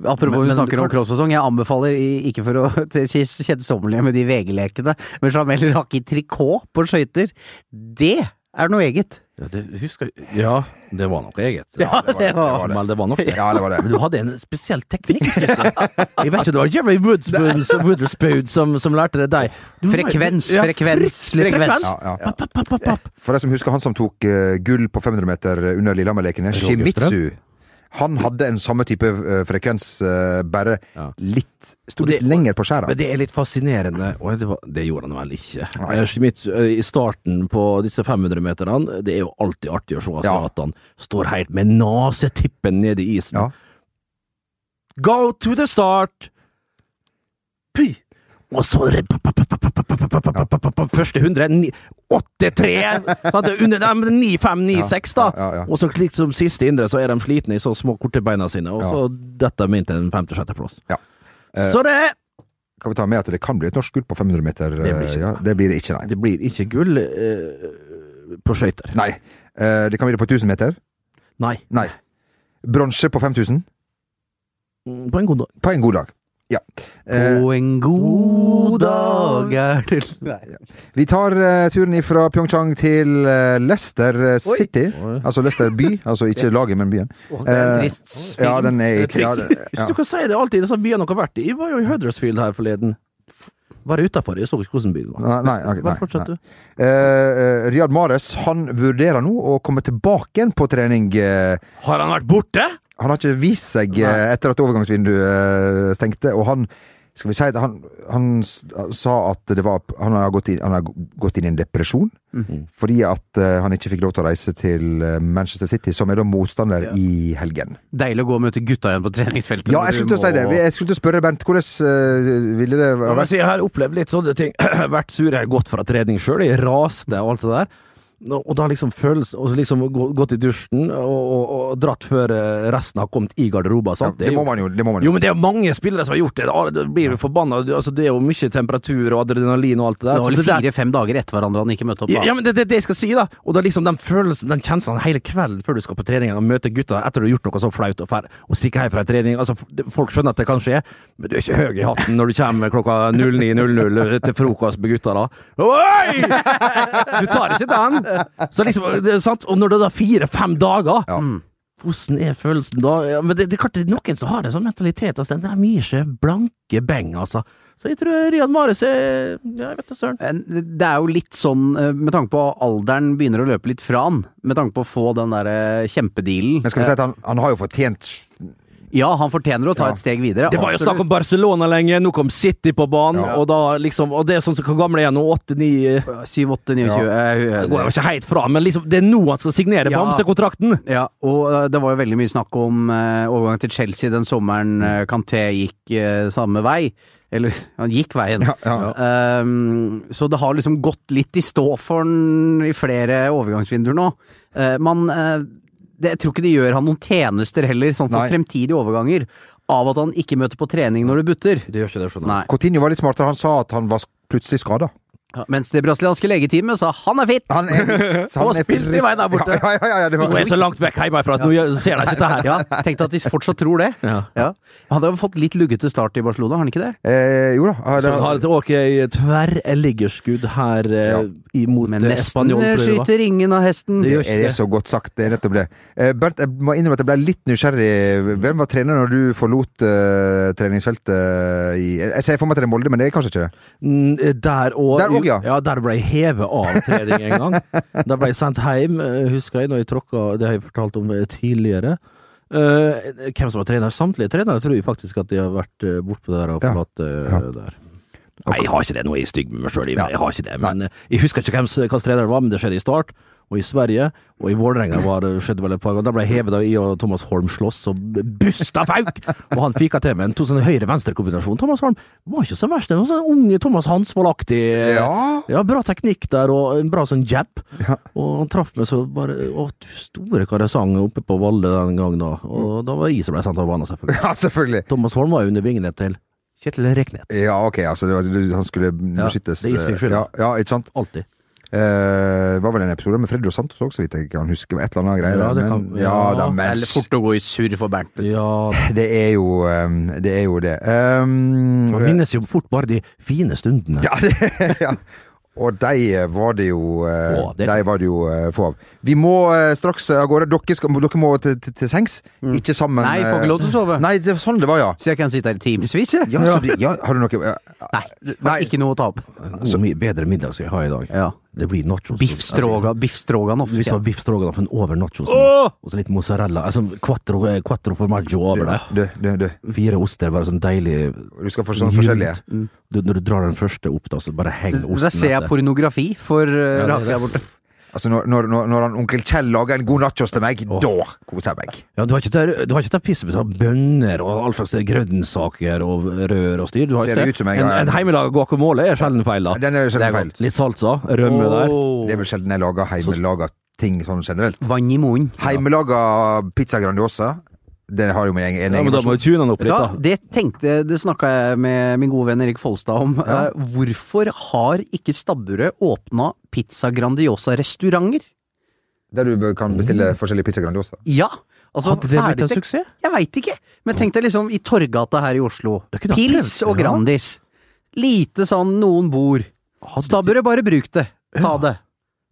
S3: Apropos
S2: Men-
S3: vi
S2: men-
S3: snakker om crossesong, jeg anbefaler i- ikke for å [LAUGHS] til kjed- kjedsommelige med de VG-lekene, men Jamel Raki trikot på skøyter, det er noe eget.
S2: Ja, det, husker, ja, det var noe eget.
S1: Ja, det var det, det var det.
S2: Men det var nok det.
S1: Ja, det var det.
S2: Men du hadde en spesiell teknikk. synes Jeg Jeg vet ikke, det var Jerry Woodspoon som, Wooderspoon som, som lærte det deg. Du var-
S3: Frekvens, frekvens,
S2: fryktelig
S3: frekvens.
S1: Ja, ja.
S2: Papp, papp, papp, papp, papp.
S1: For de som husker han som tok eh, gull på 500 meter eh, under Lillehammer-lekene, Shimizu. Han hadde en samme type eh, frekvens, eh, bare
S2: Ja.
S1: litt Sto
S2: Og det-
S1: litt lenger på skjæra.
S2: Men det er litt fascinerende, og det, var, det gjorde han vel ikke.
S1: Nei.
S2: Eh, Schmitz, eh, I starten på disse 500-meterne, det er jo alltid artig å se altså,
S1: Ja.
S2: at han står helt med nesetippen nede i isen.
S1: Ja.
S2: Go to the start! Py! Og så re- pa- pa- pa- pa- pa- pa- pa- pa- pa- pa- pa- pa- Første hundre ni- 8-3! Sant? Under nei, men 9-5-9-6, da.
S1: Ja, ja, ja.
S2: Og så slik som siste indre, så er de slitne i så små, korte beina sine, og så detter de inn til en femte-sjetteplass.
S1: Ja. Eh,
S2: Så det,
S1: Kan vi ta med at det kan bli et norsk gull på 500 meter?
S2: Det blir ikke.
S1: eh, ja, det blir det ikke, nei.
S2: det blir ikke gull eh, på skøyter.
S1: Nei. Eh, Det kan bli det på 1000 meter.
S2: Nei.
S1: Nei. Bronse på 5000
S2: Mm, På en god dag.
S1: på en god dag. Ja. Eh,
S3: På en god dag er det Nei.
S1: Vi tar eh, turen fra Pyeongchang til eh, Leicester eh, City. Altså Leicester [LAUGHS] by, altså ikke laget, men byen.
S3: Åh, det er en
S1: Eh,
S3: trist film.
S1: Ja, den er ikke ja, det-
S2: Hvis
S1: ja. [LAUGHS]
S2: du kan si det alltid, disse byene dere har vært i. Jeg var jo i Huddersfield her forleden. Var utafor, jeg så ikke hvordan byen var.
S1: Nei, nei, ok,
S2: Bare
S1: nei,
S2: fortsett,
S1: nei.
S2: du.
S1: Eh, eh, Riyad Mahrez han vurderer nå å komme tilbake igjen på trening. eh,
S2: Har han vært borte?
S1: Han har ikke vist seg eh, etter at overgangsvinduet eh, stengte, og han skal vi si at han, han s- sa at det var Han har gått inn, han har gått inn i en depresjon
S2: Mhm.
S1: fordi at eh, han ikke fikk lov til å reise til eh, Manchester City, som er da motstander i helgen.
S3: Deilig å gå og møte gutta igjen på treningsfeltet.
S1: Ja,
S3: når
S1: jeg
S3: du
S1: skulle til å
S3: må-
S1: si det. Jeg skulle til å spørre Bernt, hvordan eh, ville det
S2: Ja, men
S1: vært?
S2: så jeg har opplevd litt sånne ting. [CLEARS THROAT] Vært sur, jeg har gått fra trening sjøl, jeg rasende og alt det der. Nå- Og da liksom følelsen Og så liksom gå- gått i dusjen og, og, og dratt før eh, resten har kommet i garderoben. og
S1: Ja,
S2: sånt.
S1: det må man jo. Det må man
S2: Jo,
S1: jo.
S2: men det er jo mange spillere som har gjort det. Da- Da blir du forbanna. Du- Altså, det er jo mye temperatur og adrenalin og alt det der.
S3: Det
S1: Altså,
S2: så
S3: var
S2: det
S3: vel
S2: der-
S3: fire-fem dager etter hverandre han ikke møtte opp.
S2: ja,
S3: Da.
S2: ja, men det er det, det jeg skal si, da. Og det er liksom den følelsen, den kjenslen hele kvelden før du skal på trening og møte gutta etter du har gjort noe så flaut og, fær, og stikke hjem fra trening. Altså, f- det- folk skjønner at det kan skje, men du er ikke høy i hatten når du kommer klokka 09.00 til frokost med gutta da. Oi! Du tar ikke den! Så liksom, det er sant? Og når det er da fire-fem dager
S1: Ja.
S2: hvordan er følelsen da? Ja, men det, det er klart det er noen som har en sånn mentalitet. Altså, den der gir seg blanke beng, altså. Så jeg tror Rian Mares er Ja, jeg vet da søren.
S3: En- Eh, Det er jo litt sånn, eh, med tanke på alderen begynner å løpe litt fra han, med tanke på å få den derre kjempedealen. Eh,
S1: Men skal vi si at han, han har jo fortjent
S3: Ja, han fortjener å ta et steg videre.
S2: Det var jo
S3: absolutt.
S2: snakk om Barcelona lenge, nå kom City på banen,
S1: Ja.
S2: og da liksom Og det er sånn som hvor gamle er han nå? 8-9 eh,
S3: 7, 8, 9, 20
S2: Det går jo ikke helt fra, men liksom, det er nå han skal signere
S3: Ja.
S2: bamsekontrakten!
S3: Ja, og eh, det var jo veldig mye snakk om eh, overgang til Chelsea den sommeren eh, Kanté gikk eh, samme vei. Eller, [LAUGHS] han gikk veien.
S1: Ja, ja.
S3: Ehm, så det har liksom gått litt i stå for han i flere overgangsvinduer nå. Eh, man eh, det, Jeg tror ikke det gjør han noen tjenester heller, sånn for
S1: Nei.
S3: fremtidige overganger, av at han ikke møter på trening når det butter.
S2: Det gjør ikke det, skjønner
S3: Nei.
S1: Coutinho var litt smartere. Han sa at han var plutselig skada.
S3: Ja, mens det brasilianske legeteamet sa 'han er [LAUGHS] fit'!
S1: Han
S2: [LAUGHS]
S1: er,
S2: Han har spilt i vei der borte.
S1: Ja, ja, ja, ja, det var,
S2: Nå er jeg så langt vekk hjemmefra at nå gjør- ser de ikke dette her.
S3: Ja, Tenkte at de fortsatt tror det.
S2: Ja.
S3: Ja. Han hadde jo fått litt luggete start i Barcelona, har han ikke det?
S1: eh, jo da. ja,
S2: Så
S1: det-
S2: han har et ok tverrliggerskudd her eh,
S1: Ja.
S2: imot
S3: Men
S2: eh,
S3: nesten
S2: Spanjol,
S3: eh,
S2: tror jeg. det var.
S3: skyter ingen av hesten.
S2: Det gjør
S1: Det er så godt sagt. Det er nettopp det. Eh, Bernt, jeg må innrømme at jeg ble litt nysgjerrig. Hvem var trener når du forlot eh, treningsfeltet i Jeg ser for meg at det er Molde, men det er kanskje
S2: [LAUGHS]
S1: ikke det.
S2: Mm, eh, Der og
S1: Der og, ja.
S2: der ble jeg hevet av trening en
S1: [LAUGHS]
S2: gang. Da ble jeg sendt hjem, eh, husker jeg, når jeg tråkka Det har jeg fortalt om eh, tidligere. Eh, hvem som var trener? Samtlige trenere tror jeg faktisk at de har vært eh, bortpå der og
S1: Ja.
S2: forlatt
S1: Ja.
S2: eh, der. Nei, jeg har ikke det. Nå er jeg stygg med meg sjøl,
S1: Ja.
S2: jeg har ikke
S1: Nei.
S2: det. Men eh, jeg husker ikke hvem som- hvilken trener det var, men det skjedde i Start. Og i Sverige, og i Vålerenga var det- skjedde vel et par ganger. Da ble jeg hevet av jeg og Thomas Holm slåss, og busta fauk! Og han fika til med en to sånne høyre-venstre-kombinasjon. Thomas Holm var ikke så verst. Det var sånn unge Thomas Hansvold-aktig.
S1: Ja.
S2: Ja, bra teknikk der, og en bra sånn jab. Og han traff meg så bare Å, du store hva det sang oppe på Valle den gangen da.
S1: Mm.
S2: Og da var det jeg som ble sendt av banen, selvfølgelig.
S1: Ja, selvfølgelig.
S2: Thomas Holm var jo under vingene til Kjetil Reknet.
S1: Ja, ok, altså det var, du- han skulle beskyttes.
S2: det er
S1: eh,
S2: Isfjell skyld.
S1: ja, ja, ikke sant.
S2: Alltid.
S1: Eh, det var vel en episode med Fredrik Santos òg, så vidt jeg kan huske. Et eller annet greier.
S2: Ja, det
S1: men,
S2: kan-
S1: ja,
S2: ja.
S1: da, men
S3: Eller fort å gå i surr for Bernt.
S2: Ja,
S1: Det er jo um, det. Er jo det. Um,
S2: man minnes jo fort bare de fine stundene.
S1: ja, det, [LAUGHS] ja. Og de var det jo, eh,
S2: Få av, det er
S1: de var det jo eh, få av. Vi må eh, straks av gårde. Dere, skal, dere må til, til, til sengs. Ikke sammen.
S3: Nei, får
S1: eh,
S3: ikke lov til å sove.
S1: Nei, det, var sånn det var, ja.
S3: Så jeg kan sitte her i timevis, jeg.
S1: Ja, så, de- ja, har du noe ja, eh,
S3: Nei,
S1: Nei.
S3: Ikke noe å ta opp.
S1: altså-
S2: Så mye bedre middag skal jeg ha i dag.
S3: Ja.
S2: Det blir nachos. altså,
S3: Biff stroga, biff stroganoff.
S2: Hvis det var
S3: Ja.
S2: biff stroganoff men over nachosen, og så litt mozzarella altså quattro, eh, quattro formaggio over der.
S1: Du, du, du.
S2: Fire oster, bare sånn deilig
S1: du skal få sånne forskjellige.
S2: Du, Når du drar den første opp, da, så bare henger osten
S3: Der Mm. ser jeg
S2: etter.
S3: pornografi for eh,
S2: Ja, det-
S3: Rakel der borte.
S1: Altså, når, når, når- når han onkel Kjell lager en god nachos til meg, da koser jeg meg.
S2: Ja, du har ikke tatt- du har ikke tatt piss med sånn bønner og all slags grønnsaker og rør og styr. Du har
S1: Ser
S2: ikke
S1: det ut som jeg
S2: en,
S1: har-
S2: en hjemmelaga guacamole er sjelden feil, da.
S1: Den er
S3: Det er
S1: sjelden feil.
S3: godt.
S2: Litt salsa, rømme der.
S1: Det er vel sjelden jeg lager hjemmelaga ting sånn generelt.
S3: Vann i munnen.
S1: Hjemmelaga pizza grandiosa, det har jo min egen, en
S2: Ja, men
S1: egen
S2: da må
S1: versjon.
S2: vi tune den opp
S3: Vet du
S2: litt,
S3: hva?
S2: da.
S3: Det tenkte, det snakka jeg med min gode venn Erik Folstad om. Eh, hvorfor har ikke stabburet åpna Pizza Grandiosa-restauranter?
S1: Der du bør- kan bestille forskjellige pizza grandiosa.
S3: Ja! Altså,
S2: Hadde det blitt en
S3: ferdigstekt-
S2: suksess?
S3: Jeg veit ikke. Men tenk deg liksom i Torgata her i Oslo.
S2: Det er ikke det han
S3: Pils
S2: prøvde,
S3: og
S2: ja.
S3: Grandis. Lite sånn noen bor.
S2: Hadde
S3: Stabburet, bare bruk det. Ta
S2: Ja.
S3: det.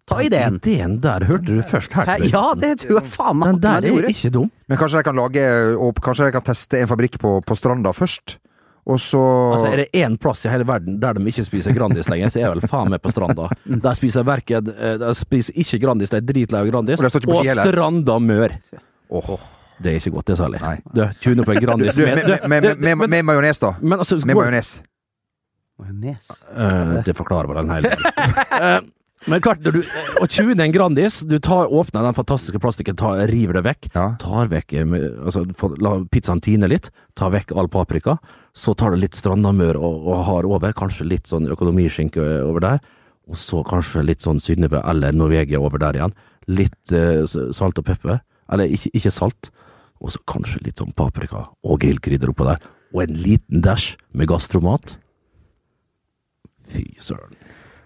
S3: Ta ideen.
S2: Ideen der hørte du først her.
S3: Hæ?
S2: Knutsen.
S3: Ja, det tror jeg faen meg
S2: Den
S3: at
S2: der
S3: jeg
S2: er
S3: gjorde.
S2: ikke dum.
S1: Men kanskje jeg kan lage og Kanskje jeg kan teste en fabrikk på, på Stranda først, og så
S2: Altså, er det én plass i hele verden der de ikke spiser Grandis lenger, så er jeg vel faen meg på Stranda. Der spiser jeg verken eh, Der spiser ikke Grandis, de er dritlei av Grandis.
S1: Og det står ikke på ski heller.
S2: Stranda Mør.
S1: Åh.
S2: Det er ikke godt, det, særlig.
S1: Nei.
S2: Du, tune på en Grandis
S1: Du, med, med,
S2: med
S1: med,
S2: du, du,
S1: med, med,
S2: Altså, men-
S1: majones, da.
S2: Men altså,
S1: Med
S2: går-
S1: majones.
S3: Majones.
S2: Eh, det forklarer vel en hel del. Eh, men klart, når du eh, og tuner en Grandis, du tar, åpner den fantastiske plastikken, tar, river det vekk,
S1: Ja.
S2: tar vekk eh, med- altså, får- La pizzaen tine litt, tar vekk all paprika, så tar du litt strandamør og, og har over, kanskje litt sånn økonomiskinke over der, og så kanskje litt sånn Synnøve eller Norvegia over der igjen. Litt eh, s- salt og pepper, eller ikke, ikke salt, og så kanskje litt sånn paprika og grillkrydder oppå der, og en liten dash med gastromat. Fy søren.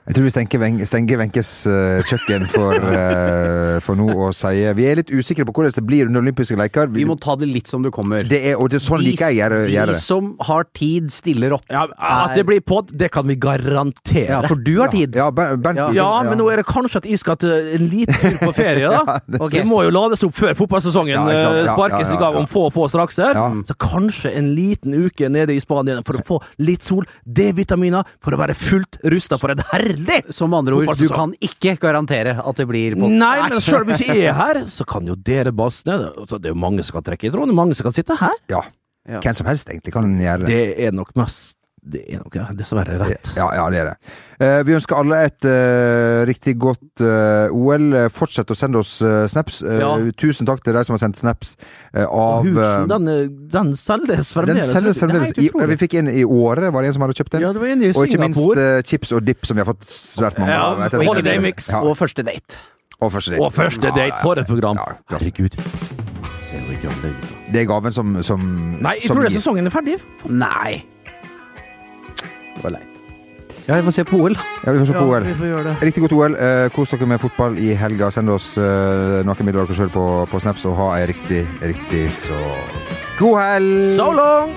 S1: Jeg tror vi stenker Ven- stenger Wenches eh, kjøkken
S2: [LAUGHS]
S1: for, eh, for nå og sier Vi er litt usikre på hvordan det blir under olympiske leker.
S3: Vi må ta det litt som det kommer.
S1: det er, og det er sånn liker jeg gjør gjør
S3: de
S1: det.
S3: som har tid, stiller opp.
S2: Ja, at det blir pod, det kan vi garantere.
S3: Ja, for du har tid.
S1: Ja, Ber- Bernt,
S3: Ja.
S1: du-
S2: Ja, men nå er det kanskje at jeg skal til en liten tur på ferie, [LAUGHS] da.
S1: det
S2: Det må jo lades opp før fotballsesongen
S1: Ja, ikke sant?
S2: eh,
S1: Ja,
S2: sparkes
S1: ja, ja,
S2: i gang
S1: ja.
S2: om få få straks der.
S1: Ja.
S2: Så kanskje en liten uke nede i Spania for å få litt sol, D-vitaminer, for å være fullt rusta for en herlig
S3: Som med andre ord, du
S2: Fotballsesong.
S3: kan ikke garantere at det blir på
S2: Nei, men sjøl om jeg ikke er her, så kan jo dere bassene altså, Det er jo mange som kan trekke i tråden, mange som kan sitte her.
S1: ja.
S3: Ja.
S1: Hvem som helst egentlig kan gjøre det.
S2: Det er nok mest Det er nok ja, dessverre rett.
S1: Ja, ja, det er det. Eh, vi ønsker alle et eh, riktig godt eh, OL. Eh, Fortsett å sende oss eh, snaps. Eh,
S2: Ja.
S1: Tusen takk til de som har sendt snaps eh, av
S2: Husen,
S1: eh,
S2: den, den selges
S1: Den
S2: fremdeles.
S1: selges fremdeles.
S2: vet du. Det er helt
S1: I-
S2: utrolig.
S1: Vi fikk inn i året, var det en som hadde kjøpt den.
S2: Ja, det var en i
S1: og ikke minst
S2: Singapore.
S1: eh, chips og dip, som vi har fått svært mange
S2: Ja,
S1: av. etter-
S2: Holiday Mix
S1: Ja,
S3: og første date.
S1: og første date.
S2: Og første date for et program.
S1: Ja, klasse.
S2: Herregud. Det er jo ikke alt det, gutta.
S1: Det er gaven som, som
S2: Nei, jeg
S1: som
S2: tror det
S1: gir.
S2: sesongen er ferdig.
S3: Nei. Det var leit. Ja, vi får se på OL.
S1: Ja, vi får se på OL.
S2: får gjøre det.
S1: Riktig godt OL. Eh, kos dere med fotball i helga. Send oss eh, noen midler dere sjøl på, på Snaps, og ha ei riktig, riktig så god helg!
S2: So long!